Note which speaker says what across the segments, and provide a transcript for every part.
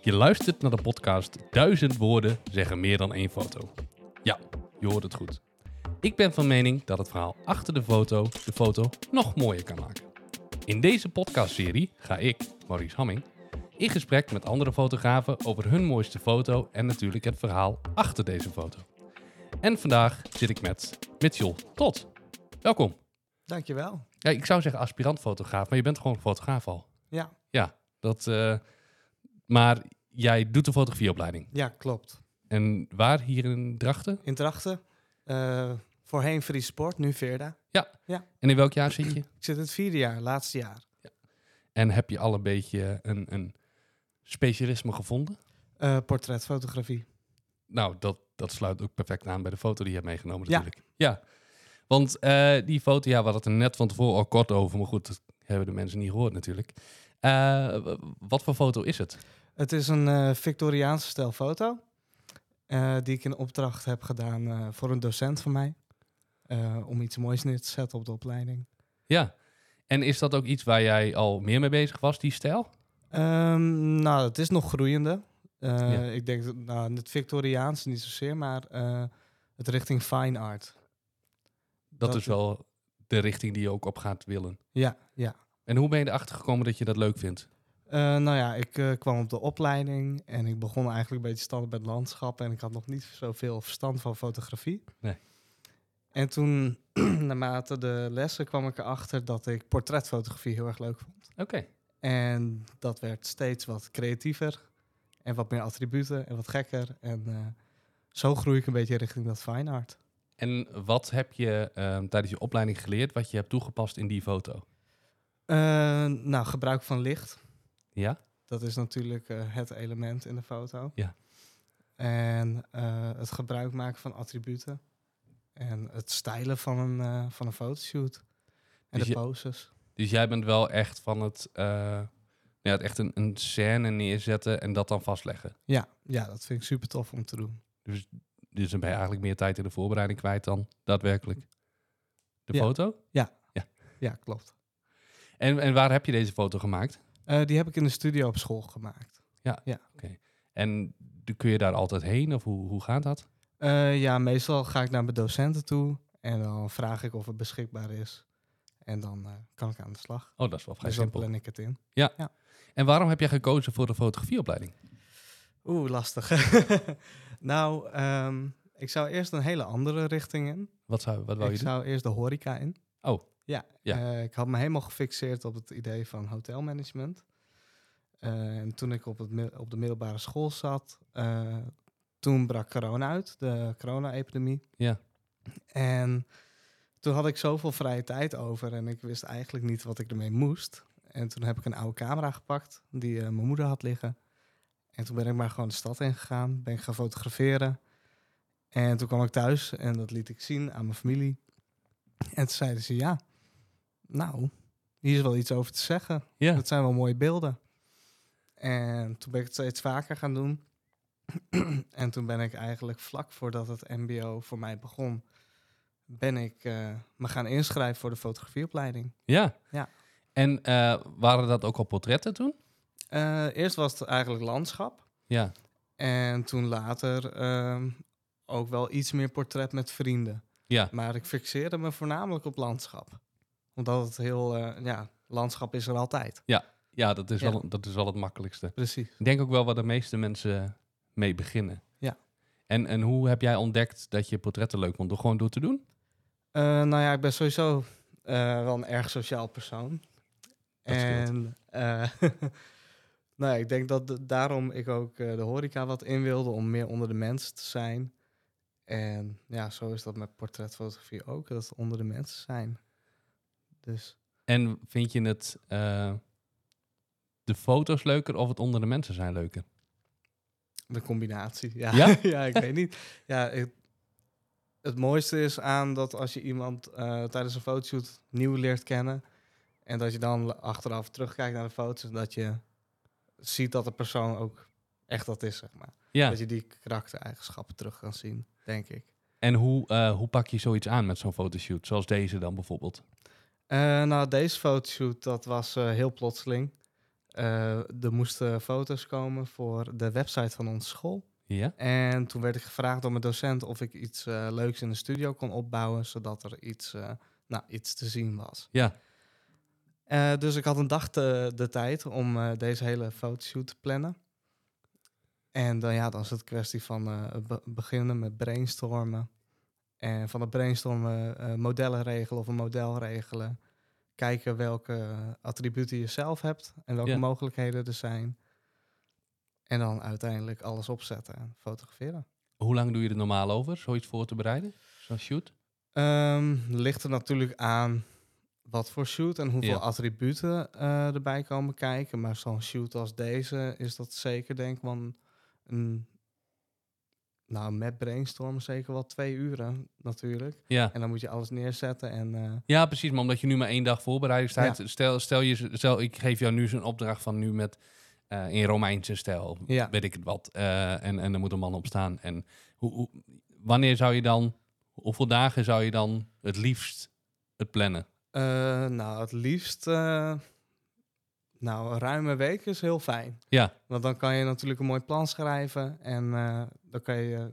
Speaker 1: Je luistert naar de podcast Duizend woorden zeggen meer dan één foto. Ja, je hoort het goed. Ik ben van mening dat het verhaal achter de foto de foto nog mooier kan maken. In deze podcastserie ga ik, Maurice Hamming, in gesprek met andere fotografen over hun mooiste foto en natuurlijk het verhaal achter deze foto. En vandaag zit ik met Mitchell Tot. Welkom.
Speaker 2: Dankjewel.
Speaker 1: Ja, ik zou zeggen aspirant fotograaf, maar je bent gewoon fotograaf al.
Speaker 2: Ja,
Speaker 1: Ja, dat. eh, maar jij doet een fotografieopleiding.
Speaker 2: ja klopt.
Speaker 1: En waar hier in Drachten?
Speaker 2: In Drachten, eh, voorheen Free Sport, nu Verda.
Speaker 1: En in welk jaar zit je?
Speaker 2: Ik zit het vierde jaar, laatste jaar.
Speaker 1: En heb je al een beetje een, een specialisme gevonden?
Speaker 2: Eh, portretfotografie.
Speaker 1: Nou, dat, dat sluit ook perfect aan bij de foto die je hebt meegenomen
Speaker 2: Ja.
Speaker 1: natuurlijk. Ja. Want eh, die foto, ja, we hadden het er net van tevoren al kort over. Maar goed, dat hebben de mensen niet gehoord natuurlijk. Eh, w- wat voor foto is het?
Speaker 2: Het is een eh, Victoriaanse stijl foto. eh, die ik in opdracht heb gedaan eh, voor een docent van mij. eh, om iets moois neer te zetten op de opleiding.
Speaker 1: Ja. En is dat ook iets waar jij al meer mee bezig was, die stijl?
Speaker 2: Ehm, nou, het is nog groeiende. Eh,
Speaker 1: Ja.
Speaker 2: Ik denk, dat- nou, het Victoriaanse niet zozeer, maar eh, het richting fine art.
Speaker 1: Dat,
Speaker 2: Dat-
Speaker 1: is wel de richting die je ook op gaat willen.
Speaker 2: Ja, ja.
Speaker 1: En hoe ben je erachter gekomen dat je dat leuk vindt?
Speaker 2: Eh, nou ja, ik eh, kwam op de opleiding en ik begon eigenlijk een beetje standaard met landschap. En ik had nog niet zoveel verstand van fotografie.
Speaker 1: Nee.
Speaker 2: En toen, naarmate de lessen, kwam ik erachter dat ik portretfotografie heel erg leuk vond.
Speaker 1: Oké.
Speaker 2: En dat werd steeds wat creatiever en wat meer attributen en wat gekker. En eh, zo groei ik een beetje richting dat fine art.
Speaker 1: En wat heb je ehm, tijdens je opleiding geleerd wat je hebt toegepast in die foto?
Speaker 2: Eh, nou, gebruik van licht.
Speaker 1: Ja?
Speaker 2: Dat is natuurlijk eh, het element in de foto.
Speaker 1: Ja.
Speaker 2: En eh, het gebruik maken van attributen. En het stijlen van een, eh, van een fotoshoot. En
Speaker 1: Dus
Speaker 2: de
Speaker 1: je-
Speaker 2: poses.
Speaker 1: Dus jij bent wel echt van het, eh, ja, het echt een, een scène neerzetten en dat dan vastleggen.
Speaker 2: Ja, ja, dat vind ik super tof om te doen.
Speaker 1: Dus dan ben je eigenlijk meer tijd in de voorbereiding kwijt dan daadwerkelijk de
Speaker 2: Ja.
Speaker 1: foto.
Speaker 2: Ja, klopt.
Speaker 1: En, en waar heb je deze foto gemaakt?
Speaker 2: Eh, die heb ik in de studio op school gemaakt.
Speaker 1: En d- kun je daar altijd heen of hoe, hoe gaat dat?
Speaker 2: Eh, ja, meestal ga ik naar mijn docenten toe. En dan vraag ik of het beschikbaar is. En dan eh, kan ik aan de slag.
Speaker 1: Oh, dat is wel vrij
Speaker 2: Dus dan
Speaker 1: simpel.
Speaker 2: plan ik het in.
Speaker 1: En waarom heb jij gekozen voor de fotografieopleiding?
Speaker 2: Oeh, lastig. nou, ehm, ik zou eerst een hele andere richting in.
Speaker 1: Wat, zou, wat wou
Speaker 2: ik
Speaker 1: je doen?
Speaker 2: zou eerst de horeca in.
Speaker 1: Oh.
Speaker 2: Ja,
Speaker 1: Ja.
Speaker 2: eh, ik had me helemaal gefixeerd op het idee van hotelmanagement. Eh, en toen ik op, het, mi- op de middelbare school zat, eh, toen brak corona uit, de corona-epidemie.
Speaker 1: Ja.
Speaker 2: En toen had ik zoveel vrije tijd over en ik wist eigenlijk niet wat ik ermee moest. En toen heb ik een oude camera gepakt die eh, mijn moeder had liggen. En toen ben ik maar gewoon de stad ingegaan, ben ik gaan fotograferen. En toen kwam ik thuis en dat liet ik zien aan mijn familie. En toen zeiden ze, ja, nou, hier is wel iets over te zeggen.
Speaker 1: Ja.
Speaker 2: Dat zijn wel mooie beelden. En toen ben ik het steeds vaker gaan doen. en toen ben ik eigenlijk vlak voordat het mbo voor mij begon... ben ik eh, me gaan inschrijven voor de fotografieopleiding.
Speaker 1: Ja.
Speaker 2: Ja.
Speaker 1: En eh, waren dat ook al portretten toen?
Speaker 2: Eh, eerst was het eigenlijk landschap.
Speaker 1: Ja.
Speaker 2: En toen later ehm, ook wel iets meer portret met vrienden.
Speaker 1: Ja.
Speaker 2: Maar ik fixeerde me voornamelijk op landschap. Omdat het heel... eh, ja, landschap is er altijd.
Speaker 1: Ja, dat is,
Speaker 2: Ja.
Speaker 1: Wel, dat is wel het makkelijkste.
Speaker 2: Precies.
Speaker 1: Ik denk ook wel waar de meeste mensen mee beginnen.
Speaker 2: Ja.
Speaker 1: En, en hoe heb jij ontdekt dat je portretten leuk vond? Door gewoon door te doen?
Speaker 2: Eh, nou ja, ik ben sowieso eh, wel een erg sociaal persoon.
Speaker 1: Dat scheelt.
Speaker 2: en eh, nou ja, ik denk dat de- daarom ik ook eh, de horeca wat in wilde om meer onder de mensen te zijn. En ja, zo is dat met portretfotografie ook, dat het onder de mensen zijn. Dus
Speaker 1: En vind je het eh, de foto's leuker of het onder de mensen zijn leuker?
Speaker 2: de combinatie, ja.
Speaker 1: Ja?
Speaker 2: ik weet niet. Ja, ik- het mooiste is aan dat als je iemand eh, tijdens een fotoshoot nieuw leert kennen... en dat je dan l- achteraf terugkijkt naar de foto's... dat je ziet dat de persoon ook echt dat is, zeg maar.
Speaker 1: Ja.
Speaker 2: Dat je die karaktereigenschappen terug kan zien, denk ik.
Speaker 1: En hoe, eh, hoe pak je zoiets aan met zo'n fotoshoot? Zoals deze dan bijvoorbeeld.
Speaker 2: Eh, nou, deze fotoshoot, dat was eh, heel plotseling. Eh, er moesten foto's komen voor de website van onze school.
Speaker 1: Ja?
Speaker 2: En toen werd ik gevraagd door mijn docent of ik iets eh, leuks in de studio kon opbouwen, zodat er iets, eh, nou, iets te zien was.
Speaker 1: Ja.
Speaker 2: Eh, dus ik had een dag te- de tijd om eh, deze hele fotoshoot te plannen. En dan, ja, dan is het kwestie van eh, be- beginnen met brainstormen. En van het brainstormen eh, modellen regelen of een model regelen. Kijken welke attributen je zelf hebt en welke
Speaker 1: Ja.
Speaker 2: mogelijkheden er zijn. En dan uiteindelijk alles opzetten en fotograferen.
Speaker 1: Hoe lang doe je er normaal over, zoiets voor te bereiden? Zo'n shoot?
Speaker 2: Ehm, ligt er natuurlijk aan wat voor shoot en hoeveel
Speaker 1: Ja.
Speaker 2: attributen eh, erbij komen kijken. Maar zo'n shoot als deze is dat zeker, denk ik, van een. Nou, met brainstormen zeker wel twee uren natuurlijk.
Speaker 1: Ja.
Speaker 2: En dan moet je alles neerzetten en eh,
Speaker 1: Ja, precies. Maar omdat je nu maar één dag voorbereidingstijd... Stel, stel, je, stel, ik geef jou nu zo'n opdracht van nu met... eh, in Romeinse stijl,
Speaker 2: Ja.
Speaker 1: weet ik het wat. Eh, en, en er moet een man op staan. En hoe, hoe- wanneer zou je dan... Hoeveel dagen zou je dan het liefst het plannen?
Speaker 2: eh, nou, het liefst. eh, nou, een ruime week is heel fijn.
Speaker 1: Ja.
Speaker 2: Want dan kan je natuurlijk een mooi plan schrijven en eh, dan kan je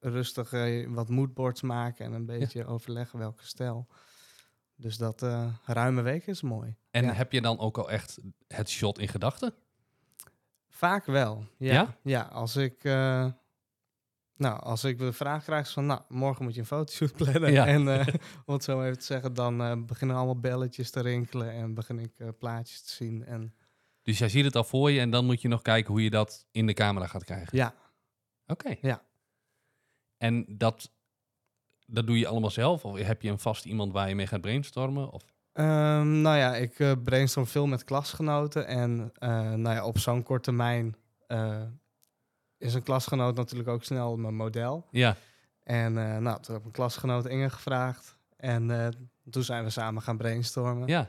Speaker 2: rustig eh, wat moodboards maken en een beetje overleggen welke stijl. Dus dat eh, ruime week is mooi.
Speaker 1: En
Speaker 2: Ja.
Speaker 1: heb je dan ook al echt het shot in gedachten?
Speaker 2: Vaak wel. Ja.
Speaker 1: Ja?
Speaker 2: Ja, als ik. eh, nou, als ik de vraag krijg van, nou, morgen moet je een fotoshoot plannen.
Speaker 1: Ja.
Speaker 2: En eh, om het zo maar even te zeggen, dan eh, beginnen allemaal belletjes te rinkelen en begin ik eh, plaatjes te zien. En
Speaker 1: Dus jij ziet het al voor je en dan moet je nog kijken hoe je dat in de camera gaat krijgen.
Speaker 2: ja,
Speaker 1: Oké.
Speaker 2: Ja.
Speaker 1: En dat, dat doe je allemaal zelf? Of heb je een vast iemand waar je mee gaat brainstormen? Of...
Speaker 2: Ehm, nou ja, ik eh, brainstorm veel met klasgenoten. En eh, nou ja, op zo'n korte termijn eh, is een klasgenoot natuurlijk ook snel mijn model.
Speaker 1: Ja,
Speaker 2: En eh, nou, toen heb ik mijn klasgenoot Inge gevraagd. En eh, toen zijn we samen gaan brainstormen.
Speaker 1: ja,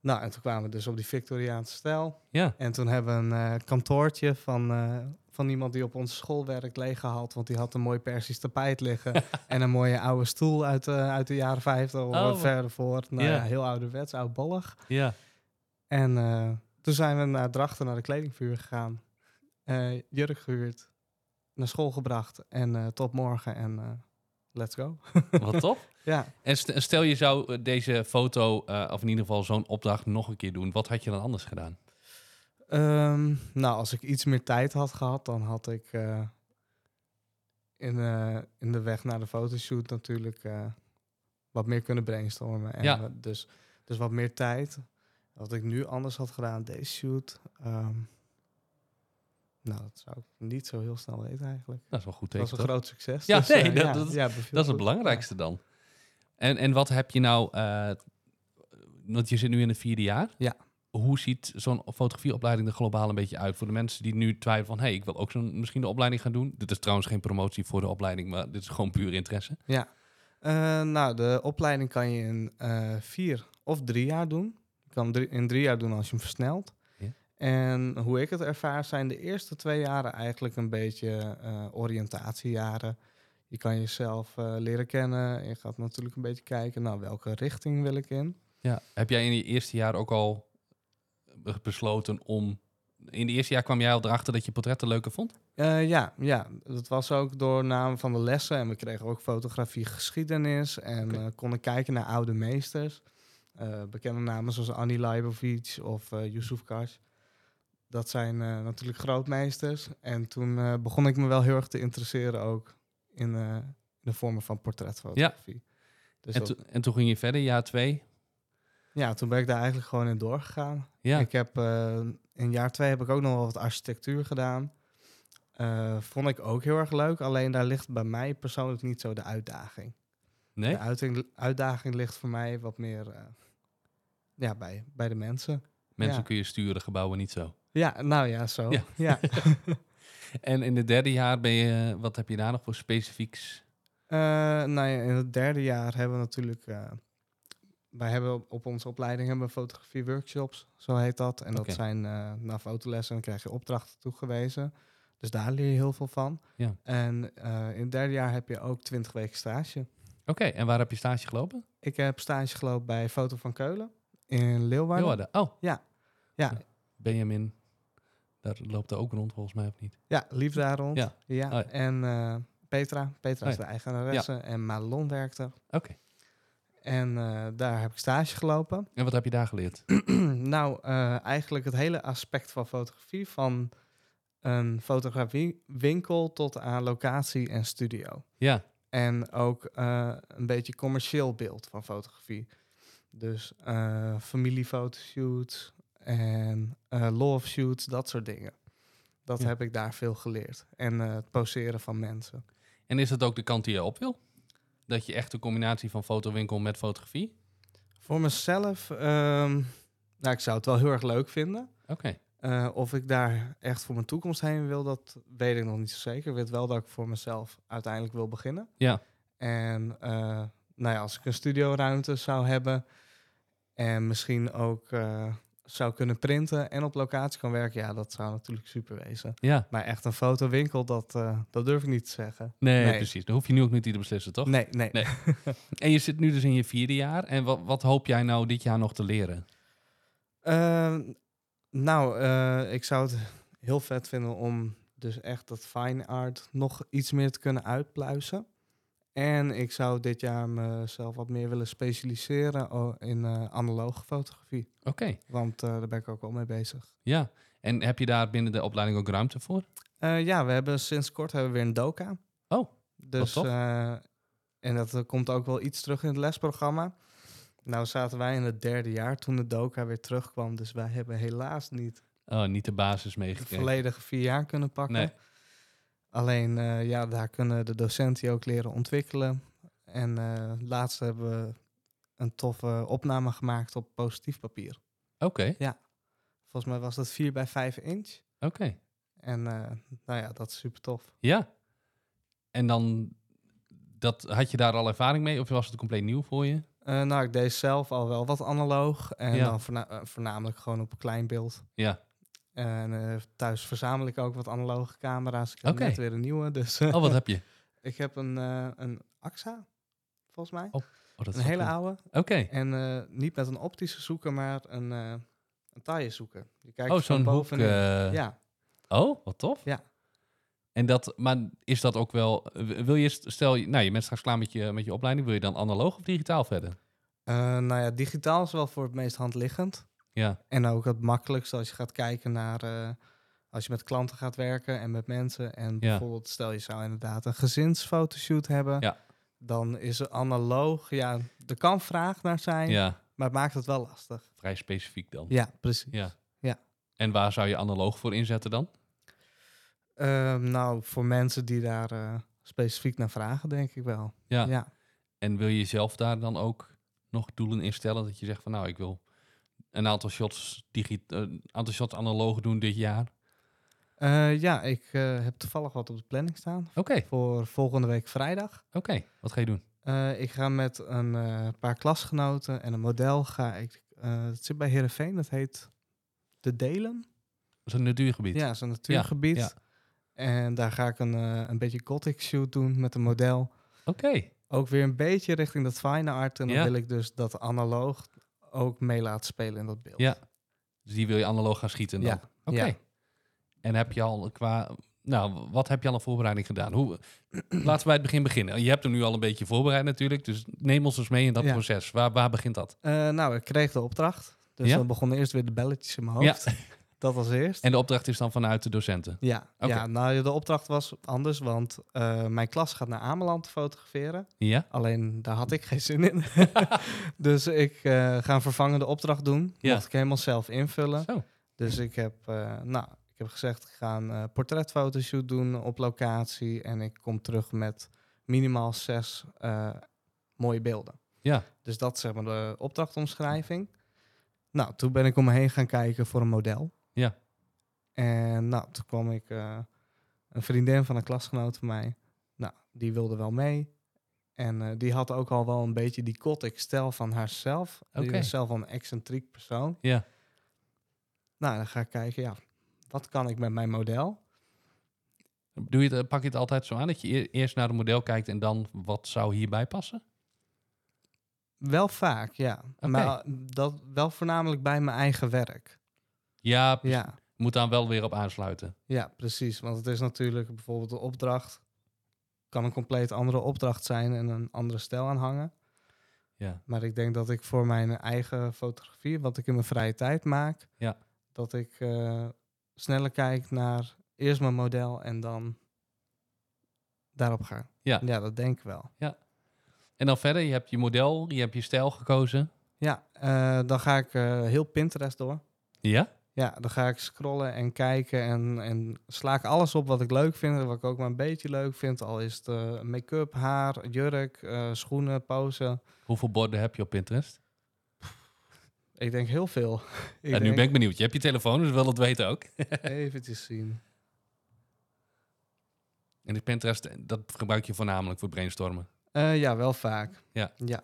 Speaker 2: Nou, en toen kwamen we dus op die Victoriaanse stijl.
Speaker 1: ja.
Speaker 2: En toen hebben we een eh, kantoortje van, eh, van iemand die op onze school werkt leeggehaald. Want die had een mooi Persisch tapijt liggen. en een mooie oude stoel uit, de- uit de jaren 50 of
Speaker 1: Oh, wat-
Speaker 2: verder voort. Nou
Speaker 1: Ja.
Speaker 2: ja, heel ouderwets, oudbollig.
Speaker 1: ja.
Speaker 2: En eh, toen zijn we naar Drachten, naar de kledingvuur gegaan. Eh, jurk gehuurd, naar school gebracht en eh, tot morgen en eh, let's go.
Speaker 1: Wat tof.
Speaker 2: Ja,
Speaker 1: En st- stel je zou eh, deze foto, eh, of in ieder geval zo'n opdracht, nog een keer doen. Wat had je dan anders gedaan?
Speaker 2: ehm, nou als ik iets meer tijd had gehad, dan had ik eh, in, eh, in de weg naar de fotoshoot natuurlijk eh, wat meer kunnen brainstormen. En
Speaker 1: Ja.
Speaker 2: wat- dus, dus wat meer tijd. Wat ik nu anders had gedaan, deze shoot. ehm, nou, dat zou ik niet zo heel snel weten eigenlijk.
Speaker 1: Dat is wel goed
Speaker 2: Dat
Speaker 1: teken,
Speaker 2: was een
Speaker 1: toch?
Speaker 2: groot succes.
Speaker 1: Ja,
Speaker 2: dus,
Speaker 1: nee,
Speaker 2: eh,
Speaker 1: dat-
Speaker 2: ja,
Speaker 1: dat-
Speaker 2: ja, beviel
Speaker 1: Dat is het
Speaker 2: goed.
Speaker 1: belangrijkste dan. En, en wat heb je nou... eh, want je zit nu in het vierde jaar.
Speaker 2: Ja.
Speaker 1: Hoe ziet zo'n fotografieopleiding er globaal een beetje uit? Voor de mensen die nu twijfelen van... hé, hey, ik wil ook zo'n misschien de opleiding gaan doen. Dit is trouwens geen promotie voor de opleiding... maar dit is gewoon puur interesse.
Speaker 2: Ja. Eh, nou, de opleiding kan je in eh, vier of drie jaar doen. Je kan hem drie, in drie jaar doen als je hem versnelt.
Speaker 1: Ja.
Speaker 2: En hoe ik het ervaar zijn de eerste twee jaren eigenlijk een beetje eh, oriëntatiejaren. Je kan jezelf eh, leren kennen. Je gaat natuurlijk een beetje kijken, nou, welke richting wil ik in?
Speaker 1: Ja. Heb jij in je eerste jaar ook al be- besloten om... In het eerste jaar kwam jij al erachter dat je portretten leuker vond?
Speaker 2: Eh, ja, ja, dat was ook door naam van de lessen. En we kregen ook fotografie geschiedenis. En
Speaker 1: Oké.
Speaker 2: eh, konden kijken naar oude meesters. Eh, bekende namen zoals Annie Leibovic of eh Yusuf Kash. Dat zijn eh, natuurlijk grootmeesters. En toen eh, begon ik me wel heel erg te interesseren ook in eh, de vormen van portretfotografie. Dus
Speaker 1: En,
Speaker 2: dat-
Speaker 1: toen- en toen ging je verder, jaar twee.
Speaker 2: ja, toen ben ik daar eigenlijk gewoon in doorgegaan.
Speaker 1: Ja,
Speaker 2: Ik heb eh, in jaar twee heb ik ook nog wel wat architectuur gedaan. Eh, vond ik ook heel erg leuk. Alleen daar ligt bij mij persoonlijk niet zo de uitdaging.
Speaker 1: nee?
Speaker 2: De uiting- uitdaging ligt voor mij wat meer eh, ja, bij, bij de mensen.
Speaker 1: Mensen
Speaker 2: ja.
Speaker 1: kun je sturen, gebouwen niet zo.
Speaker 2: Ja, nou ja, zo.
Speaker 1: Ja.
Speaker 2: Ja.
Speaker 1: En in het derde jaar ben je... Wat heb je daar nog voor specifieks...
Speaker 2: Eh, nou ja, in het derde jaar hebben we natuurlijk... eh, wij hebben op, op onze opleiding hebben we fotografie workshops, zo heet dat. En
Speaker 1: Oké.
Speaker 2: dat zijn eh na fotolessen, dan krijg je opdrachten toegewezen. Dus daar leer je heel veel van.
Speaker 1: Ja.
Speaker 2: En eh, in het derde jaar heb je ook 20 weken stage.
Speaker 1: Oké, en waar heb je stage gelopen?
Speaker 2: Ik heb stage gelopen bij Foto van Keulen in Leeuwarden.
Speaker 1: Leeuwarden. Oh.
Speaker 2: Ja,
Speaker 1: Ja. Benjamin. Daar loopt er ook rond, volgens mij, of niet?
Speaker 2: Ja, lief daar rond.
Speaker 1: Ja.
Speaker 2: Ja.
Speaker 1: Oh ja.
Speaker 2: En eh, Petra. Petra is
Speaker 1: Oh ja.
Speaker 2: de eigenaresse. En Malon werkt er.
Speaker 1: Oké.
Speaker 2: En eh, daar heb ik stage gelopen.
Speaker 1: En wat heb je daar geleerd?
Speaker 2: nou, eh, eigenlijk het hele aspect van fotografie. Van een fotografiewinkel tot aan locatie en studio.
Speaker 1: Ja,
Speaker 2: En ook eh, een beetje commercieel beeld van fotografie. Dus eh familiefotoshoots en eh love shoots, dat soort dingen. Dat
Speaker 1: Ja.
Speaker 2: heb ik daar veel geleerd. En eh, het poseren van mensen.
Speaker 1: en is dat ook de kant die je op wil? Dat je echt een combinatie van fotowinkel met fotografie?
Speaker 2: Voor mezelf, ehm, nou, ik zou het wel heel erg leuk vinden.
Speaker 1: Oké.
Speaker 2: Eh, of ik daar echt voor mijn toekomst heen wil, dat weet ik nog niet zo zeker. Ik weet wel dat ik voor mezelf uiteindelijk wil beginnen.
Speaker 1: Ja.
Speaker 2: En eh, nou ja, als ik een studioruimte zou hebben en misschien ook eh, zou kunnen printen en op locatie kan werken, ja, dat zou natuurlijk super wezen.
Speaker 1: Ja.
Speaker 2: Maar echt een fotowinkel, dat, eh, dat durf ik niet te zeggen.
Speaker 1: Nee,
Speaker 2: Nee.
Speaker 1: precies. Dan hoef je nu ook niet te beslissen, toch?
Speaker 2: Nee, nee.
Speaker 1: Nee. En je zit nu dus in je vierde jaar. En wat, wat hoop jij nou dit jaar nog te leren?
Speaker 2: Ehm, nou, eh, ik zou het heel vet vinden om dus echt dat fine art nog iets meer te kunnen uitpluizen. En ik zou dit jaar mezelf wat meer willen specialiseren o- in eh analoge fotografie.
Speaker 1: Oké,
Speaker 2: Want eh, daar ben ik ook wel mee bezig.
Speaker 1: ja. En heb je daar binnen de opleiding ook ruimte voor?
Speaker 2: Eh, ja, we hebben sinds kort hebben we weer een doka.
Speaker 1: Oh,
Speaker 2: dus,
Speaker 1: tof.
Speaker 2: eh, En dat eh, komt ook wel iets terug in het lesprogramma. Nou zaten wij in het derde jaar toen de doka weer terugkwam. Dus wij hebben helaas niet
Speaker 1: Oh, niet de basis
Speaker 2: de
Speaker 1: meegekregen.
Speaker 2: volledige vier jaar kunnen pakken.
Speaker 1: eh, Nee.
Speaker 2: Alleen, eh, ja, daar kunnen de docenten je ook leren ontwikkelen. En eh, laatst hebben we een toffe opname gemaakt op positief papier.
Speaker 1: Oké,
Speaker 2: Volgens mij was dat 4 bij 5 inch.
Speaker 1: oké.
Speaker 2: En eh, nou ja, dat is super tof.
Speaker 1: Ja. En dan, dat, had je daar al ervaring mee of was het compleet nieuw voor je?
Speaker 2: Eh, nou, ik deed zelf al wel wat analoog. En
Speaker 1: Ja.
Speaker 2: dan voorna- eh, voornamelijk gewoon op een klein beeld.
Speaker 1: Ja.
Speaker 2: En eh, thuis verzamel ik ook wat analoge camera's. Ik heb
Speaker 1: Oké.
Speaker 2: net weer een nieuwe. Dus
Speaker 1: Oh, wat heb je?
Speaker 2: ik heb een, eh, een AXA, volgens mij.
Speaker 1: Oh, Oh, dat is
Speaker 2: een
Speaker 1: wel
Speaker 2: hele
Speaker 1: goed.
Speaker 2: oude.
Speaker 1: Oké.
Speaker 2: En eh, niet met een optische zoeker, maar een, eh een taaienzoeker. Je kijkt
Speaker 1: Oh,
Speaker 2: van
Speaker 1: zo'n hoek.
Speaker 2: bovenin.
Speaker 1: eh,
Speaker 2: Ja,
Speaker 1: Oh, wat tof.
Speaker 2: Ja.
Speaker 1: En dat, maar is dat ook wel, wil je, st- stel, je- nou je bent straks klaar met je, met je opleiding, wil je dan analoog of digitaal verder?
Speaker 2: Eh, nou ja, digitaal is wel voor het meest handliggend.
Speaker 1: Ja,
Speaker 2: En ook het makkelijkste als je gaat kijken naar... eh, als je met klanten gaat werken en met mensen. En bijvoorbeeld, stel je zou inderdaad een gezinsfotoshoot hebben.
Speaker 1: Ja.
Speaker 2: Dan is er analoog, ja, er kan vraag naar zijn,
Speaker 1: ja,
Speaker 2: maar het maakt het wel lastig.
Speaker 1: vrij specifiek dan.
Speaker 2: Ja, precies.
Speaker 1: Ja.
Speaker 2: Ja.
Speaker 1: En waar zou je analoog voor inzetten dan?
Speaker 2: Ehm, nou, voor mensen die daar eh, specifiek naar vragen, denk ik wel.
Speaker 1: Ja.
Speaker 2: ja.
Speaker 1: En wil je zelf daar dan ook nog doelen in stellen? Dat je zegt van nou, ik wil een aantal shots, digi- eh, een aantal shots analoog doen dit jaar.
Speaker 2: Eh, ja, ik eh, heb toevallig wat op de planning staan
Speaker 1: Oké,
Speaker 2: voor volgende week vrijdag.
Speaker 1: oké. Wat ga je doen?
Speaker 2: Eh, ik ga met een eh, paar klasgenoten en een model ga ik. eh, het zit bij Heerenveen, dat heet De Delen.
Speaker 1: Dat is een natuurgebied.
Speaker 2: Ja, zo'n natuurgebied.
Speaker 1: ja.
Speaker 2: En daar ga ik een, eh, een beetje gothic shoot doen met een model.
Speaker 1: Oké,
Speaker 2: Ook weer een beetje richting dat fine art. En dan
Speaker 1: Ja.
Speaker 2: wil ik dus dat analoog ook mee laten spelen in dat beeld.
Speaker 1: Ja, dus die wil je analoog gaan schieten dan?
Speaker 2: Ja,
Speaker 1: Oké.
Speaker 2: ja.
Speaker 1: En heb je al qua... Nou, wat heb je al een voorbereiding gedaan? Hoe, laten we bij het begin beginnen. Je hebt er nu al een beetje voorbereid natuurlijk. Dus neem ons eens mee in dat
Speaker 2: Ja.
Speaker 1: proces. Waar, waar begint dat?
Speaker 2: Eh, nou, ik kreeg de opdracht. Dus
Speaker 1: Ja?
Speaker 2: dan begonnen eerst weer de belletjes in mijn hoofd.
Speaker 1: Ja.
Speaker 2: Dat als eerst.
Speaker 1: En de opdracht is dan vanuit de docenten.
Speaker 2: Ja,
Speaker 1: Oké.
Speaker 2: ja, nou de opdracht was anders, want eh, mijn klas gaat naar Ameland fotograferen.
Speaker 1: Ja?
Speaker 2: Alleen daar had ik geen zin in. dus ik eh, ga een vervangende opdracht doen.
Speaker 1: Ja.
Speaker 2: Mocht ik helemaal zelf invullen.
Speaker 1: Zo.
Speaker 2: Dus ik heb, eh, nou, ik heb gezegd, ik ga een eh, portretfotoshoot doen op locatie. En ik kom terug met minimaal zes eh, mooie beelden.
Speaker 1: Ja.
Speaker 2: Dus dat is zeg maar de opdrachtomschrijving. Nou, toen ben ik om me heen gaan kijken voor een model.
Speaker 1: Ja.
Speaker 2: En nou, toen kwam ik eh, een vriendin van een klasgenoot van mij. Nou, die wilde wel mee. En eh, die had ook al wel een beetje die gothic stijl van haarzelf. Die
Speaker 1: Oké.
Speaker 2: was zelf wel een excentriek persoon.
Speaker 1: Ja.
Speaker 2: Nou, dan ga ik kijken, ja, wat kan ik met mijn model?
Speaker 1: Doe je het, eh, pak je het altijd zo aan dat je eer- eerst naar het model kijkt en dan wat zou hierbij passen?
Speaker 2: Wel vaak, ja.
Speaker 1: Oké.
Speaker 2: Maar dat wel voornamelijk bij mijn eigen werk.
Speaker 1: Ja, precies.
Speaker 2: Ja,
Speaker 1: moet daar wel weer op aansluiten.
Speaker 2: ja, precies. Want het is natuurlijk bijvoorbeeld de opdracht. Kan een compleet andere opdracht zijn en een andere stijl aanhangen.
Speaker 1: Ja.
Speaker 2: Maar ik denk dat ik voor mijn eigen fotografie, wat ik in mijn vrije tijd maak,
Speaker 1: Ja.
Speaker 2: dat ik eh, sneller kijk naar eerst mijn model en dan daarop ga.
Speaker 1: Ja.
Speaker 2: ja dat denk ik wel.
Speaker 1: En dan verder, je hebt je model, je hebt je stijl gekozen.
Speaker 2: Ja, eh, dan ga ik eh, heel Pinterest door.
Speaker 1: Ja?
Speaker 2: Ja, dan ga ik scrollen en kijken en, en sla ik alles op wat ik leuk vind en wat ik ook maar een beetje leuk vind. Al is het eh, make-up, haar, jurk, eh, schoenen, pose.
Speaker 1: Hoeveel borden heb je op Pinterest?
Speaker 2: Ik denk heel veel.
Speaker 1: en
Speaker 2: ik
Speaker 1: nu
Speaker 2: denk-
Speaker 1: ben ik benieuwd. Je hebt je telefoon, dus wil dat weten ook.
Speaker 2: Eventjes zien.
Speaker 1: En de Pinterest, eh, dat gebruik je voornamelijk voor brainstormen.
Speaker 2: Eh, ja, wel vaak.
Speaker 1: Ja.
Speaker 2: ja.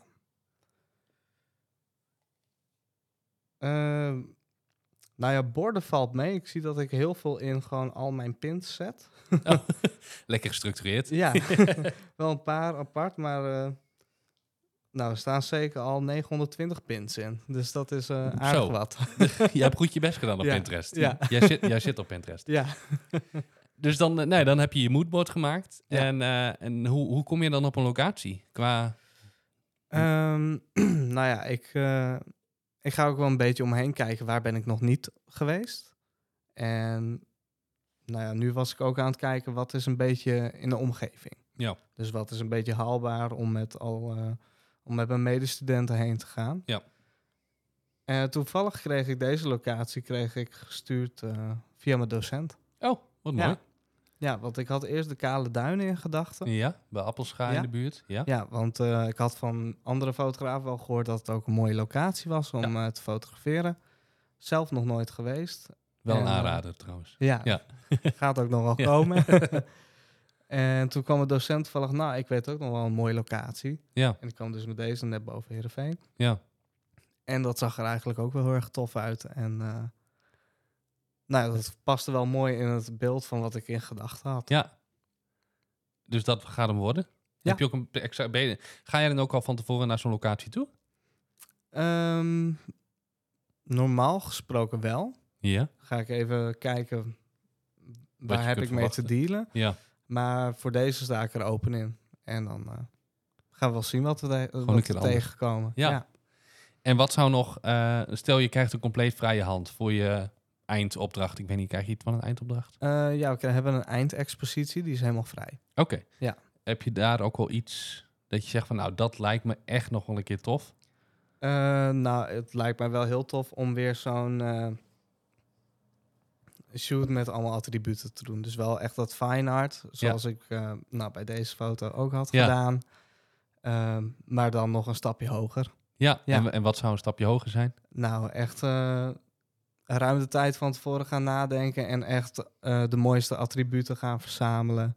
Speaker 2: Eh, nou ja, borden valt mee. Ik zie dat ik heel veel in gewoon al mijn pins zet.
Speaker 1: Oh, Lekker gestructureerd.
Speaker 2: Ja, wel een paar apart, maar eh, nou, er staan zeker al 920 pins in. Dus dat is eh aardig
Speaker 1: Zo.
Speaker 2: wat.
Speaker 1: Jij hebt goed je best gedaan op
Speaker 2: Ja,
Speaker 1: Pinterest.
Speaker 2: ja.
Speaker 1: Jij, zit, jij zit op Pinterest.
Speaker 2: ja.
Speaker 1: Dus dan, eh, nee, dan heb je je moodboard gemaakt.
Speaker 2: Ja.
Speaker 1: En, eh, en hoe, hoe kom je dan op een locatie? Qua...
Speaker 2: Ehm, nou ja, ik, eh, ik ga ook wel een beetje omheen kijken waar ben ik nog niet geweest. En nou ja, nu was ik ook aan het kijken wat is een beetje in de omgeving.
Speaker 1: Ja.
Speaker 2: Dus wat is een beetje haalbaar om met, al, eh, om met mijn medestudenten heen te gaan.
Speaker 1: Ja.
Speaker 2: En toevallig kreeg ik deze locatie kreeg ik gestuurd eh, via mijn docent.
Speaker 1: Oh, wat mooi.
Speaker 2: Ja, want ik had eerst de Kale Duinen in gedachten.
Speaker 1: Ja, bij Appelscha
Speaker 2: Ja.
Speaker 1: in de buurt. Ja.
Speaker 2: Ja, want eh, ik had van andere fotografen wel gehoord dat het ook een mooie locatie was om eh, te fotograferen. Zelf nog nooit geweest.
Speaker 1: Wel een
Speaker 2: En, eh,
Speaker 1: aanrader trouwens.
Speaker 2: Ja,
Speaker 1: Ja.
Speaker 2: gaat ook nog wel
Speaker 1: Ja.
Speaker 2: komen. en toen kwam een docent toevallig, nou, ik weet ook nog wel een mooie locatie.
Speaker 1: Ja,
Speaker 2: En ik kwam dus met deze net boven Heerenveen.
Speaker 1: ja.
Speaker 2: En dat zag er eigenlijk ook wel heel erg tof uit. En eh, nou, dat paste wel mooi in het beeld van wat ik in gedachten had.
Speaker 1: Ja. Dus dat gaat hem worden.
Speaker 2: Ja.
Speaker 1: Heb je ook een extra, ben je- ga jij dan ook al van tevoren naar zo'n locatie toe?
Speaker 2: Ehm, normaal gesproken wel.
Speaker 1: Ja.
Speaker 2: ga ik even kijken
Speaker 1: je
Speaker 2: waar heb
Speaker 1: kunt
Speaker 2: ik mee te
Speaker 1: verwachten.
Speaker 2: dealen.
Speaker 1: Ja.
Speaker 2: Maar voor deze sta ik er open in. En dan eh, gaan we wel zien wat we, te-
Speaker 1: een
Speaker 2: wat
Speaker 1: keer
Speaker 2: we
Speaker 1: anders.
Speaker 2: tegenkomen.
Speaker 1: Ja. En wat zou nog, eh, stel je krijgt een compleet vrije hand voor je eindopdracht. Ik weet niet, krijg je iets van een eindopdracht?
Speaker 2: Eh, ja, we hebben een eindexpositie, die is helemaal vrij.
Speaker 1: Oké.
Speaker 2: Ja.
Speaker 1: Heb je daar ook wel iets dat je zegt van nou, dat lijkt me echt nog wel een keer tof?
Speaker 2: Eh, nou, het lijkt mij wel heel tof om weer zo'n eh, shoot met allemaal attributen te doen. Dus wel echt dat fine art, zoals ik eh, nou, bij deze foto ook had
Speaker 1: Ja.
Speaker 2: gedaan. Ehm, maar dan nog een stapje hoger.
Speaker 1: Ja.
Speaker 2: Ja.
Speaker 1: En, en wat zou een stapje hoger zijn?
Speaker 2: Nou, echt eh, ruim de tijd van tevoren gaan nadenken en echt eh, de mooiste attributen gaan verzamelen.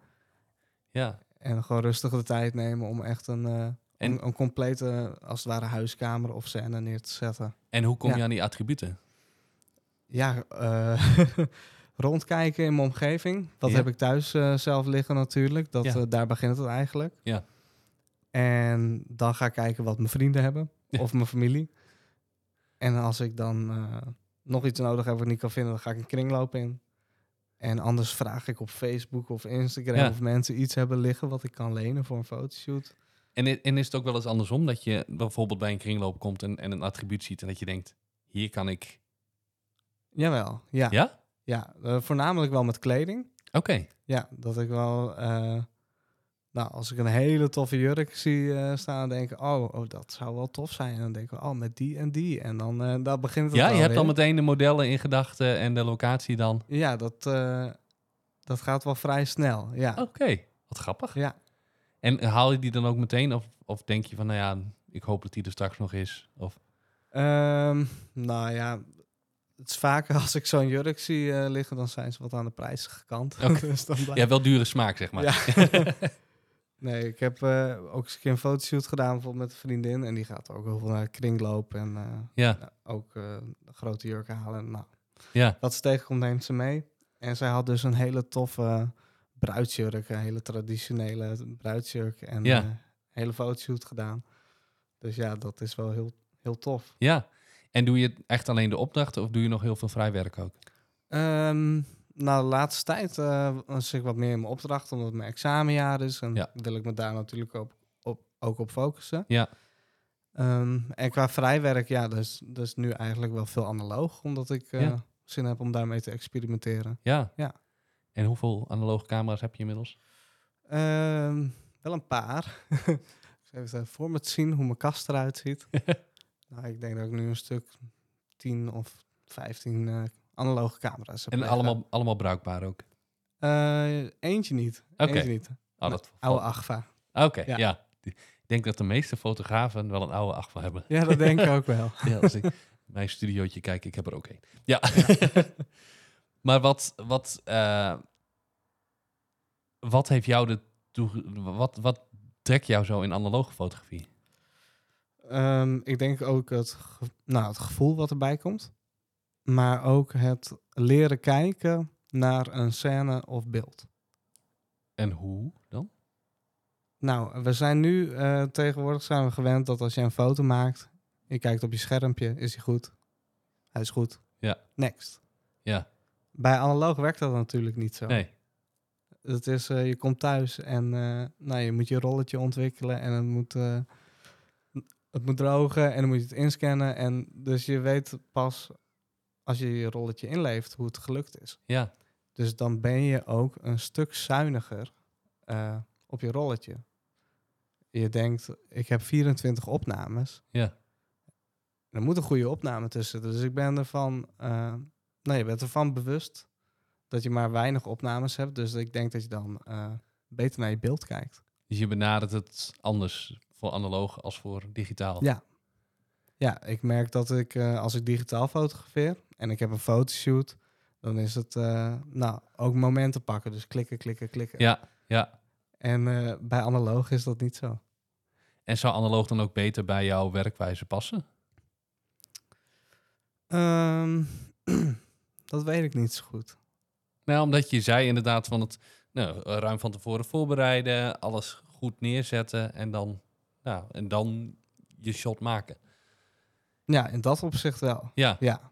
Speaker 1: Ja.
Speaker 2: En gewoon rustig de tijd nemen om echt een, eh,
Speaker 1: En-
Speaker 2: een, een complete, als het ware, huiskamer of scène neer te zetten.
Speaker 1: En hoe kom
Speaker 2: Ja.
Speaker 1: je aan die attributen?
Speaker 2: Ja, eh, rondkijken in mijn omgeving. Dat
Speaker 1: Ja.
Speaker 2: heb ik thuis eh, zelf liggen natuurlijk. Dat,
Speaker 1: Ja.
Speaker 2: eh, daar begint het eigenlijk.
Speaker 1: Ja.
Speaker 2: En dan ga ik kijken wat mijn vrienden hebben
Speaker 1: Ja.
Speaker 2: of mijn familie. En als ik dan eh, nog iets nodig heb wat ik niet kan vinden, dan ga ik een kringloop in. En anders vraag ik op Facebook of Instagram
Speaker 1: Ja.
Speaker 2: of mensen iets hebben liggen wat ik kan lenen voor een fotoshoot.
Speaker 1: En, i- en is het ook wel eens andersom dat je bijvoorbeeld bij een kringloop komt en, en een attribuut ziet en dat je denkt, hier kan ik.
Speaker 2: Jawel, ja.
Speaker 1: Ja?
Speaker 2: Ja, eh, voornamelijk wel met kleding.
Speaker 1: Oké.
Speaker 2: Ja, dat ik wel. eh, nou, als ik een hele toffe jurk zie eh, staan, denk ik, oh, oh, dat zou wel tof zijn. En dan denk ik, oh, met die en die. En dan eh, daar begint het
Speaker 1: Ja, je
Speaker 2: wel
Speaker 1: hebt dan
Speaker 2: weer.
Speaker 1: meteen de modellen in gedachten en de locatie dan.
Speaker 2: Ja, dat, eh, dat gaat wel vrij snel. Ja.
Speaker 1: Oké, wat grappig.
Speaker 2: Ja.
Speaker 1: En haal je die dan ook meteen? Of, of denk je van, nou ja, ik hoop dat die er straks nog is? Of,
Speaker 2: Ehm, nou ja, het is vaker als ik zo'n jurk zie eh, liggen, dan zijn ze wat aan de prijzige kant.
Speaker 1: Oké.
Speaker 2: dus dan blijft-
Speaker 1: ja, wel dure smaak, zeg maar.
Speaker 2: Ja. Nee, ik heb eh, ook eens een keer een fotoshoot gedaan bijvoorbeeld met een vriendin. En die gaat ook heel veel naar de kringloop en eh,
Speaker 1: Ja.
Speaker 2: nou, ook eh, grote jurken halen. Nou,
Speaker 1: Ja.
Speaker 2: wat ze tegenkomt, neemt ze mee. En zij had dus een hele toffe bruidsjurk, een hele traditionele bruidsjurk. En
Speaker 1: Ja.
Speaker 2: eh, een hele fotoshoot gedaan. Dus ja, dat is wel heel, heel tof.
Speaker 1: Ja. En doe je echt alleen de opdrachten of doe je nog heel veel vrij werk ook?
Speaker 2: Ehm, nou, de laatste tijd eh was ik wat meer in mijn opdracht, omdat het mijn examenjaar is. En
Speaker 1: Ja.
Speaker 2: wil ik me daar natuurlijk op, op, ook op focussen.
Speaker 1: Ja.
Speaker 2: Ehm, en qua vrijwerk, ja, dus, dus nu eigenlijk wel veel analoog, omdat ik eh,
Speaker 1: Ja.
Speaker 2: zin heb om daarmee te experimenteren.
Speaker 1: Ja.
Speaker 2: Ja.
Speaker 1: En hoeveel analoge camera's heb je inmiddels?
Speaker 2: Ehm, wel een paar. ik zal even voor me zien hoe mijn kast eruit ziet. nou, ik denk dat ik nu een stuk 10 of 15 eh, analoge camera's heb.
Speaker 1: En
Speaker 2: liggen.
Speaker 1: allemaal, allemaal bruikbaar ook.
Speaker 2: Eh, eentje niet.
Speaker 1: Oké.
Speaker 2: Eentje niet.
Speaker 1: Oh, dat
Speaker 2: Oude Agfa.
Speaker 1: Oké, ja.
Speaker 2: Ja.
Speaker 1: Ik denk dat de meeste fotografen wel een oude achtbaan hebben.
Speaker 2: Ja, dat denk ik ook wel.
Speaker 1: Ja, als ik mijn studiootje kijk, ik heb er ook één. Ja. maar wat, wat, eh, wat heeft jou de toe- wat, wat trekt jou zo in analoge fotografie?
Speaker 2: Ehm, ik denk ook het, ge- nou, het gevoel wat erbij komt. Maar ook het leren kijken naar een scène of beeld.
Speaker 1: En hoe dan?
Speaker 2: Nou, we zijn nu eh, tegenwoordig zijn we gewend dat als je een foto maakt, je kijkt op je schermpje, is hij goed? Hij is goed.
Speaker 1: Ja.
Speaker 2: Next.
Speaker 1: Ja.
Speaker 2: Bij analoog werkt dat natuurlijk niet zo.
Speaker 1: Nee.
Speaker 2: Dat is, eh, je komt thuis en eh, nou, je moet je rolletje ontwikkelen en het moet, eh, het moet drogen en dan moet je het inscannen. En dus je weet pas als je je rolletje inleeft hoe het gelukt is.
Speaker 1: Ja.
Speaker 2: Dus dan ben je ook een stuk zuiniger eh, op je rolletje. Je denkt, ik heb 24 opnames.
Speaker 1: Ja.
Speaker 2: Er moet een goede opname tussen. Dus ik ben ervan, eh nou, je bent ervan bewust dat je maar weinig opnames hebt. Dus ik denk dat je dan eh, beter naar je beeld kijkt.
Speaker 1: Dus je benadert het anders voor analoog als voor digitaal.
Speaker 2: Ja. Ja, ik merk dat ik eh, als ik digitaal fotografeer en ik heb een fotoshoot, dan is het eh, nou ook momenten pakken. Dus klikken, klikken, klikken.
Speaker 1: Ja, ja.
Speaker 2: En eh, bij analoog is dat niet zo.
Speaker 1: En zou analoog dan ook beter bij jouw werkwijze passen?
Speaker 2: Ehm, dat weet ik niet zo goed.
Speaker 1: Nou, omdat je zei inderdaad van het nou, ruim van tevoren voorbereiden, alles goed neerzetten en dan, nou, en dan je shot maken.
Speaker 2: Ja, in dat opzicht wel.
Speaker 1: Ja.
Speaker 2: Ja,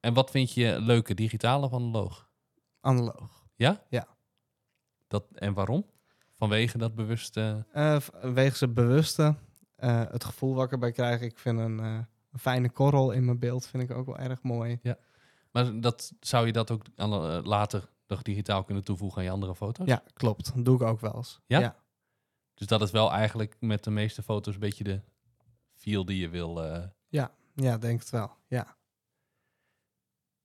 Speaker 1: En wat vind je leuke, digitaal of analoog?
Speaker 2: analoog.
Speaker 1: Dat, en waarom? Vanwege dat bewuste...
Speaker 2: Eh, v- wegens het bewuste, eh, het gevoel wat ik erbij krijg. Ik vind een, eh, een fijne korrel in mijn beeld vind ik ook wel erg mooi.
Speaker 1: Maar dat, zou je dat ook aan, eh, later nog digitaal kunnen toevoegen aan je andere foto's?
Speaker 2: Ja, klopt. Dat doe ik ook wel eens.
Speaker 1: Ja? Dus dat is wel eigenlijk met de meeste foto's een beetje de feel die je wil... eh,
Speaker 2: Ja, denk het wel. Ja.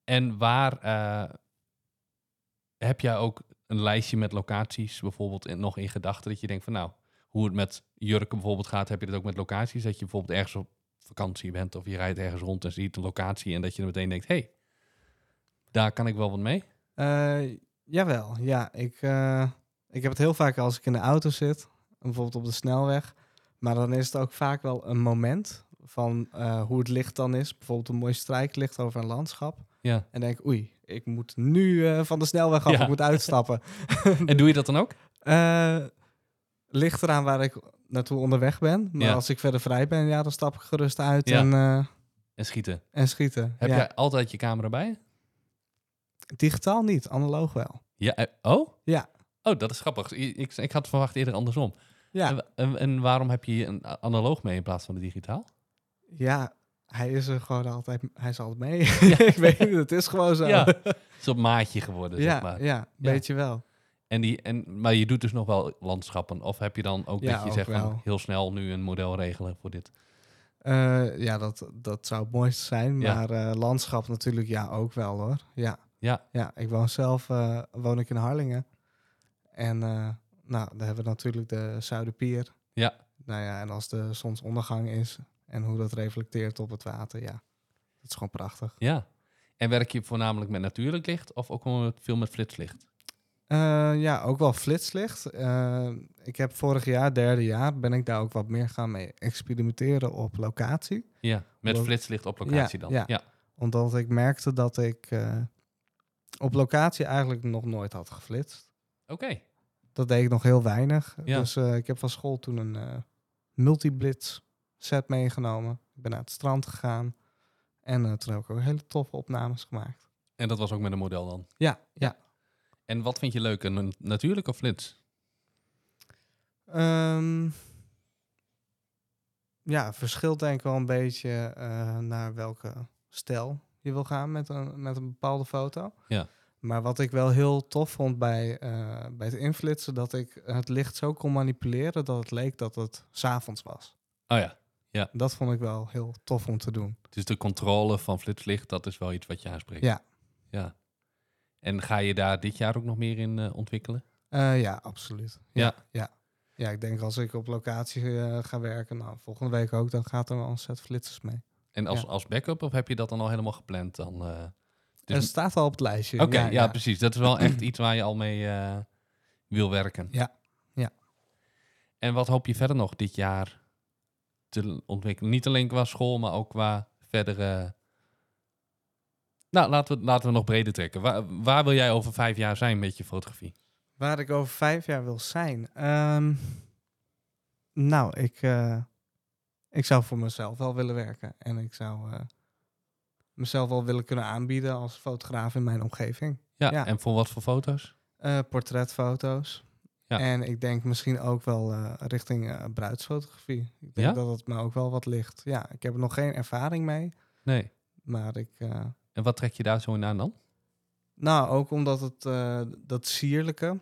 Speaker 1: En waar eh, heb jij ook een lijstje met locaties bijvoorbeeld in, nog in gedachten? Dat je denkt van nou, hoe het met jurken bijvoorbeeld gaat, heb je dat ook met locaties? Dat je bijvoorbeeld ergens op vakantie bent of je rijdt ergens rond en ziet een locatie en dat je dan meteen denkt, hé, hey, daar kan ik wel wat mee.
Speaker 2: Eh, jawel, ja. Ik, eh, ik heb het heel vaak als ik in de auto zit, bijvoorbeeld op de snelweg. Maar dan is het ook vaak wel een moment van eh, hoe het licht dan is. Bijvoorbeeld een mooi strijklicht over een landschap.
Speaker 1: Ja.
Speaker 2: En denk, oei, ik moet nu eh, van de snelweg af,
Speaker 1: Ja.
Speaker 2: ik moet uitstappen.
Speaker 1: En doe je dat dan ook?
Speaker 2: Eh ligt eraan waar ik naartoe onderweg ben. Maar
Speaker 1: Ja.
Speaker 2: als ik verder vrij ben, ja, dan stap ik gerust uit
Speaker 1: Ja.
Speaker 2: en, eh,
Speaker 1: En schieten.
Speaker 2: en schieten.
Speaker 1: Heb
Speaker 2: ja.
Speaker 1: jij altijd je camera bij? je?
Speaker 2: Digitaal niet, analoog wel.
Speaker 1: Ja. eh, Oh?
Speaker 2: Ja.
Speaker 1: Oh, dat is grappig. I- Ik, ik had verwacht eerder andersom.
Speaker 2: Ja,
Speaker 1: En, en, en waarom heb je een a- analoog mee in plaats van de digitaal?
Speaker 2: ja hij is er gewoon altijd, hij is altijd mee. ik weet niet, het is gewoon zo.
Speaker 1: Ja. Het is op maatje geworden,
Speaker 2: ja,
Speaker 1: zeg maar.
Speaker 2: ja, weet je wel.
Speaker 1: En die, en, maar je doet dus nog wel landschappen. Of heb je dan ook
Speaker 2: Ja,
Speaker 1: dat je
Speaker 2: ook
Speaker 1: zegt van
Speaker 2: wel.
Speaker 1: heel snel nu een model regelen voor dit?
Speaker 2: Eh, ja, dat, dat zou het mooiste zijn.
Speaker 1: Ja.
Speaker 2: Maar eh, landschap natuurlijk, ja, ook wel hoor. Ja.
Speaker 1: Ja.
Speaker 2: ja ik woon zelf eh, woon ik in Harlingen. En eh, nou, daar hebben we natuurlijk de Zuiderpier.
Speaker 1: Ja.
Speaker 2: Nou ja, en als de zonsondergang is en hoe dat reflecteert op het water, ja. Dat is gewoon prachtig.
Speaker 1: Ja. En werk je voornamelijk met natuurlijk licht of ook wel met- veel met flitslicht?
Speaker 2: Eh, ja, ook wel flitslicht. Eh, ik heb vorig jaar, derde jaar, ben ik daar ook wat meer gaan mee experimenteren op locatie.
Speaker 1: Ja, met
Speaker 2: Lo-
Speaker 1: flitslicht op locatie
Speaker 2: Ja,
Speaker 1: dan. Ja.
Speaker 2: ja. Omdat ik merkte dat ik eh, op locatie eigenlijk nog nooit had geflitst.
Speaker 1: Oké.
Speaker 2: Dat deed ik nog heel weinig.
Speaker 1: Ja.
Speaker 2: Dus eh, ik heb van school eh, toen een multi multiblitz set meegenomen. Ik ben naar het strand gegaan. En eh, toen heb ik ook hele toffe opnames gemaakt.
Speaker 1: En dat was ook met een model dan.
Speaker 2: Ja, ja.
Speaker 1: En wat vind je leuk, een een natuurlijke flits?
Speaker 2: Ehm, ja, verschilt denk ik wel een beetje eh, naar welke stijl je wil gaan met een, met een bepaalde foto.
Speaker 1: Ja.
Speaker 2: Maar wat ik wel heel tof vond bij, eh, bij het inflitsen, dat ik het licht zo kon manipuleren dat het leek dat het s'avonds was.
Speaker 1: Oh ja,
Speaker 2: Dat vond ik wel heel tof om te doen.
Speaker 1: dus de controle van flitslicht, dat is wel iets wat je aanspreekt.
Speaker 2: Ja.
Speaker 1: ja. En ga je daar dit jaar ook nog meer in eh, ontwikkelen?
Speaker 2: Eh, ja, absoluut.
Speaker 1: Ja.
Speaker 2: ja. Ja, ik denk als ik op locatie eh, ga werken, nou, volgende week ook, dan gaat er wel een set flitsers mee.
Speaker 1: En als,
Speaker 2: Ja.
Speaker 1: als backup, of heb je dat dan al helemaal gepland? Dan, eh? Dus-
Speaker 2: Er staat al op het lijstje.
Speaker 1: Oké, ja, precies. Dat is wel echt iets waar je al mee eh, wil werken.
Speaker 2: Ja, ja.
Speaker 1: En wat hoop je verder nog dit jaar te ontwikkelen? Niet alleen qua school, maar ook qua verdere... Nou, laten we, laten we nog breder trekken. Waar, waar wil jij over vijf jaar zijn met je fotografie?
Speaker 2: Waar ik over vijf jaar wil zijn. Ehm, nou, ik, eh, ik zou voor mezelf wel willen werken. En ik zou eh, mezelf wel willen kunnen aanbieden als fotograaf in mijn omgeving.
Speaker 1: Ja,
Speaker 2: Ja.
Speaker 1: en voor wat voor foto's?
Speaker 2: Eh, portretfoto's.
Speaker 1: Ja.
Speaker 2: En ik denk misschien ook wel eh, richting eh, bruidsfotografie. Ik denk
Speaker 1: Ja?
Speaker 2: dat het me ook wel wat ligt. Ja, ik heb er nog geen ervaring mee.
Speaker 1: Nee.
Speaker 2: Maar ik... eh,
Speaker 1: En wat trek je daar zo in aan dan?
Speaker 2: Nou, ook omdat het eh, dat sierlijke,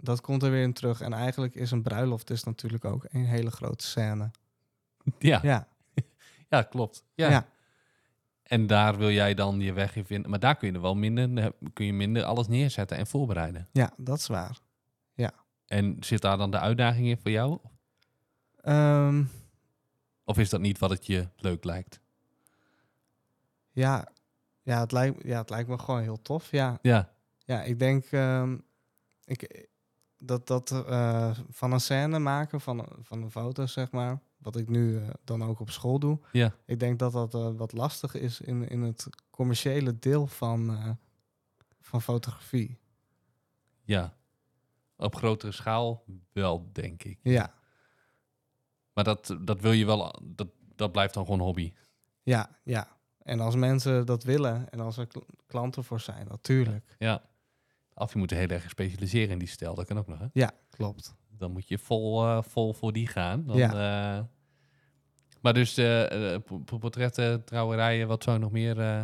Speaker 2: dat komt er weer in terug. En eigenlijk is een bruiloft dus natuurlijk ook een hele grote scène.
Speaker 1: Ja, ja.
Speaker 2: Ja,
Speaker 1: klopt.
Speaker 2: ja.
Speaker 1: Ja. En daar wil jij dan je weg in vinden. Maar daar kun je er wel minder, eh, kun je minder alles neerzetten en voorbereiden.
Speaker 2: ja, dat is waar.
Speaker 1: En zit daar dan de uitdaging in voor jou?
Speaker 2: Ehm,
Speaker 1: Of is dat niet wat het je leuk lijkt?
Speaker 2: ja, ja, het lijkt, ja, het lijkt me gewoon heel tof. Ja,
Speaker 1: Ja,
Speaker 2: ja ik denk ehm, ik, dat, dat eh, van een scène maken, van, een- van een foto zeg maar, wat ik nu eh, dan ook op school doe.
Speaker 1: Ja.
Speaker 2: Ik denk dat dat eh, wat lastig is in, in het commerciële deel van, eh, van fotografie.
Speaker 1: ja. Op grotere schaal wel, denk ik.
Speaker 2: Ja,
Speaker 1: Maar dat, dat wil je wel, dat, dat blijft dan gewoon hobby.
Speaker 2: ja, ja. En als mensen dat willen en als er kl- klanten voor zijn, natuurlijk.
Speaker 1: Ja. Of je moet heel erg specialiseren in die stijl, dat kan ook nog. Hè?
Speaker 2: Ja, klopt.
Speaker 1: Dan moet je vol, eh, vol voor die gaan. Dan,
Speaker 2: Ja.
Speaker 1: eh, maar dus eh, eh, po- po- portretten, trouwerijen, wat zou nog meer eh,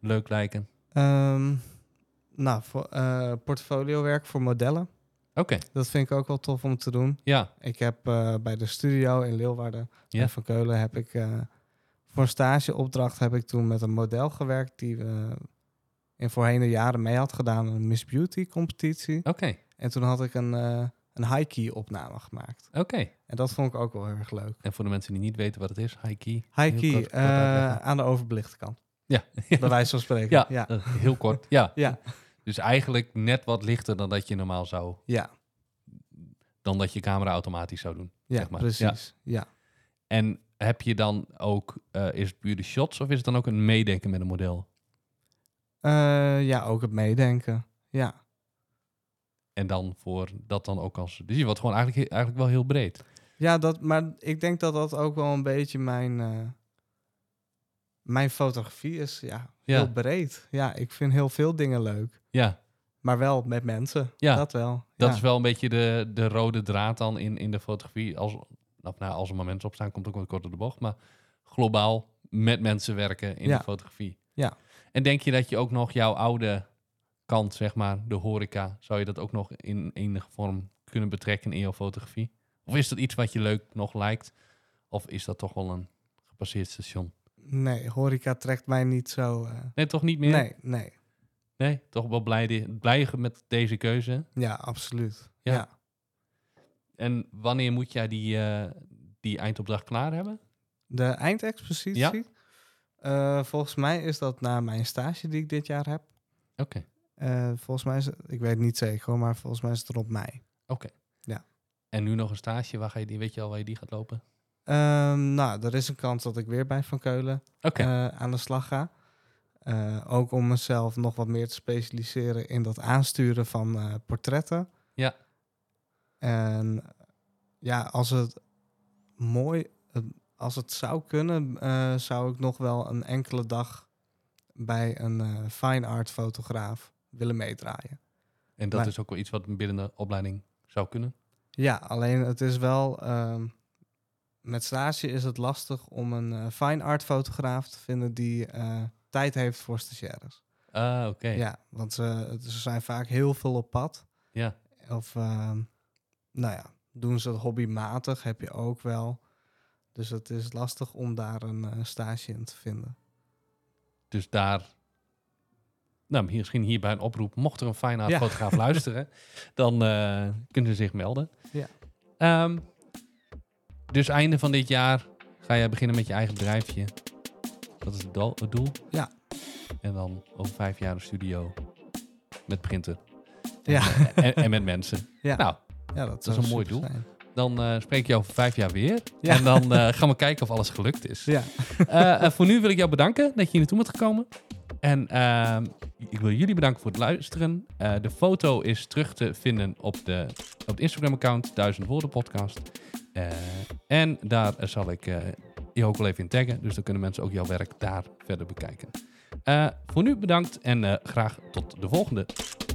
Speaker 1: leuk lijken?
Speaker 2: Ehm, nou, voor, eh portfolio werk voor modellen.
Speaker 1: Oké,
Speaker 2: Dat vind ik ook wel tof om te doen.
Speaker 1: ja.
Speaker 2: Ik heb eh, bij de studio in Leeuwarden
Speaker 1: Ja.
Speaker 2: en Van Keulen heb ik eh, voor een stageopdracht heb ik toen met een model gewerkt die we in voorheen de jaren mee had gedaan aan een Miss Beauty competitie.
Speaker 1: Oké,
Speaker 2: En toen had ik een, eh een high-key opname gemaakt.
Speaker 1: oké.
Speaker 2: En dat vond ik ook wel heel erg leuk.
Speaker 1: En voor de mensen die niet weten wat het is, high-key.
Speaker 2: High-key, eh,
Speaker 1: Heel kort, kort uitleggen.
Speaker 2: aan de overbelichte kant.
Speaker 1: Ja.
Speaker 2: Bij wijze van spreken.
Speaker 1: Ja,
Speaker 2: ja.
Speaker 1: eh, heel kort. Ja.
Speaker 2: Ja.
Speaker 1: Dus eigenlijk net wat lichter dan dat je normaal zou,
Speaker 2: ja.
Speaker 1: dan dat je camera automatisch zou doen.
Speaker 2: ja,
Speaker 1: Zeg maar.
Speaker 2: precies. Ja.
Speaker 1: En heb je dan ook, eh, is het puur de shots of is het dan ook een meedenken met een model?
Speaker 2: Ja. Eh, ja, ook het meedenken. Ja,
Speaker 1: En dan voor dat dan ook als. Dus je wordt gewoon eigenlijk, he- eigenlijk wel heel breed.
Speaker 2: ja dat, maar ik denk dat dat ook wel een beetje mijn, eh, mijn fotografie is. Ja,
Speaker 1: Ja.
Speaker 2: heel breed. Ja, ik vind heel veel dingen leuk.
Speaker 1: Ja,
Speaker 2: Maar wel met mensen.
Speaker 1: Ja.
Speaker 2: Dat wel.
Speaker 1: dat
Speaker 2: ja.
Speaker 1: is wel een beetje de, de rode draad dan in, in de fotografie. Als, nou, nou, als er maar mensen op staan, komt ook wat korter de bocht. Maar globaal met mensen werken in
Speaker 2: Ja.
Speaker 1: de fotografie.
Speaker 2: Ja.
Speaker 1: En denk je dat je ook nog jouw oude kant, zeg maar, de horeca, zou je dat ook nog in enige vorm kunnen betrekken in jouw fotografie? Of is dat iets wat je leuk nog lijkt? Of is dat toch wel een gepasseerd station?
Speaker 2: Nee, horeca trekt mij niet zo... eh,
Speaker 1: Nee, toch niet meer?
Speaker 2: nee, nee.
Speaker 1: Nee? toch wel blij, blij met deze keuze.
Speaker 2: Ja, absoluut.
Speaker 1: Ja.
Speaker 2: Ja.
Speaker 1: En wanneer moet jij die, eh, die eindopdracht klaar hebben?
Speaker 2: De eindexpositie?
Speaker 1: Ja.
Speaker 2: Eh, volgens mij is dat na mijn stage die ik dit jaar heb.
Speaker 1: Oké.
Speaker 2: Eh, volgens mij is het, ik weet het niet zeker, hoor, maar volgens mij is het er op mei.
Speaker 1: En nu nog een stage, waar ga je die, weet je al waar je die gaat lopen?
Speaker 2: Ehm, nou, er is een kans dat ik weer bij Van Keulen
Speaker 1: Oké,
Speaker 2: eh, aan de slag ga. Eh, ook om mezelf nog wat meer te specialiseren in dat aansturen van eh, portretten.
Speaker 1: Ja.
Speaker 2: En ja, als het mooi, het- als het zou kunnen, eh, zou ik nog wel een enkele dag bij een eh, fine art fotograaf willen meedraaien.
Speaker 1: En dat
Speaker 2: Maar-
Speaker 1: is ook wel iets wat binnen de opleiding zou kunnen.
Speaker 2: Ja, alleen het is wel. ehm, met stage is het lastig om een eh, fine art fotograaf te vinden die eh, tijd heeft voor stagiaires.
Speaker 1: Ah, oké. Ja.
Speaker 2: Ja, want ze, ze zijn vaak heel veel op pad.
Speaker 1: Ja.
Speaker 2: Of, ehm, nou ja, doen ze het hobbymatig, heb je ook wel. Dus het is lastig om daar een eh, stage in te vinden.
Speaker 1: Dus daar... Nou, hier- misschien hierbij een oproep. Mocht er een fijne
Speaker 2: Ja.
Speaker 1: fotograaf luisteren, dan eh, kunnen ze zich melden.
Speaker 2: Ja.
Speaker 1: Ehm, dus einde van dit jaar ga jij beginnen met je eigen bedrijfje. Dat is het doel. het doel.
Speaker 2: Ja.
Speaker 1: En dan over vijf jaar een studio met printen
Speaker 2: Ja,
Speaker 1: en, en met mensen.
Speaker 2: Ja.
Speaker 1: Nou,
Speaker 2: ja dat,
Speaker 1: is
Speaker 2: zou
Speaker 1: een mooi
Speaker 2: super
Speaker 1: doel.
Speaker 2: zijn.
Speaker 1: dan eh, spreek ik jou over vijf jaar weer.
Speaker 2: Ja.
Speaker 1: En dan eh, gaan we kijken of alles gelukt is.
Speaker 2: Ja,
Speaker 1: Eh, eh, voor nu wil ik jou bedanken dat je hier naartoe bent gekomen. En ehm, ik wil jullie bedanken voor het luisteren. Eh, de foto is terug te vinden op, de, op het Instagram-account 1000 Woorden Podcast. Eh, en daar eh, zal ik eh, je ook wel even in taggen. Dus dan kunnen mensen ook jouw werk daar verder bekijken. Eh, voor nu bedankt en eh, graag tot de volgende.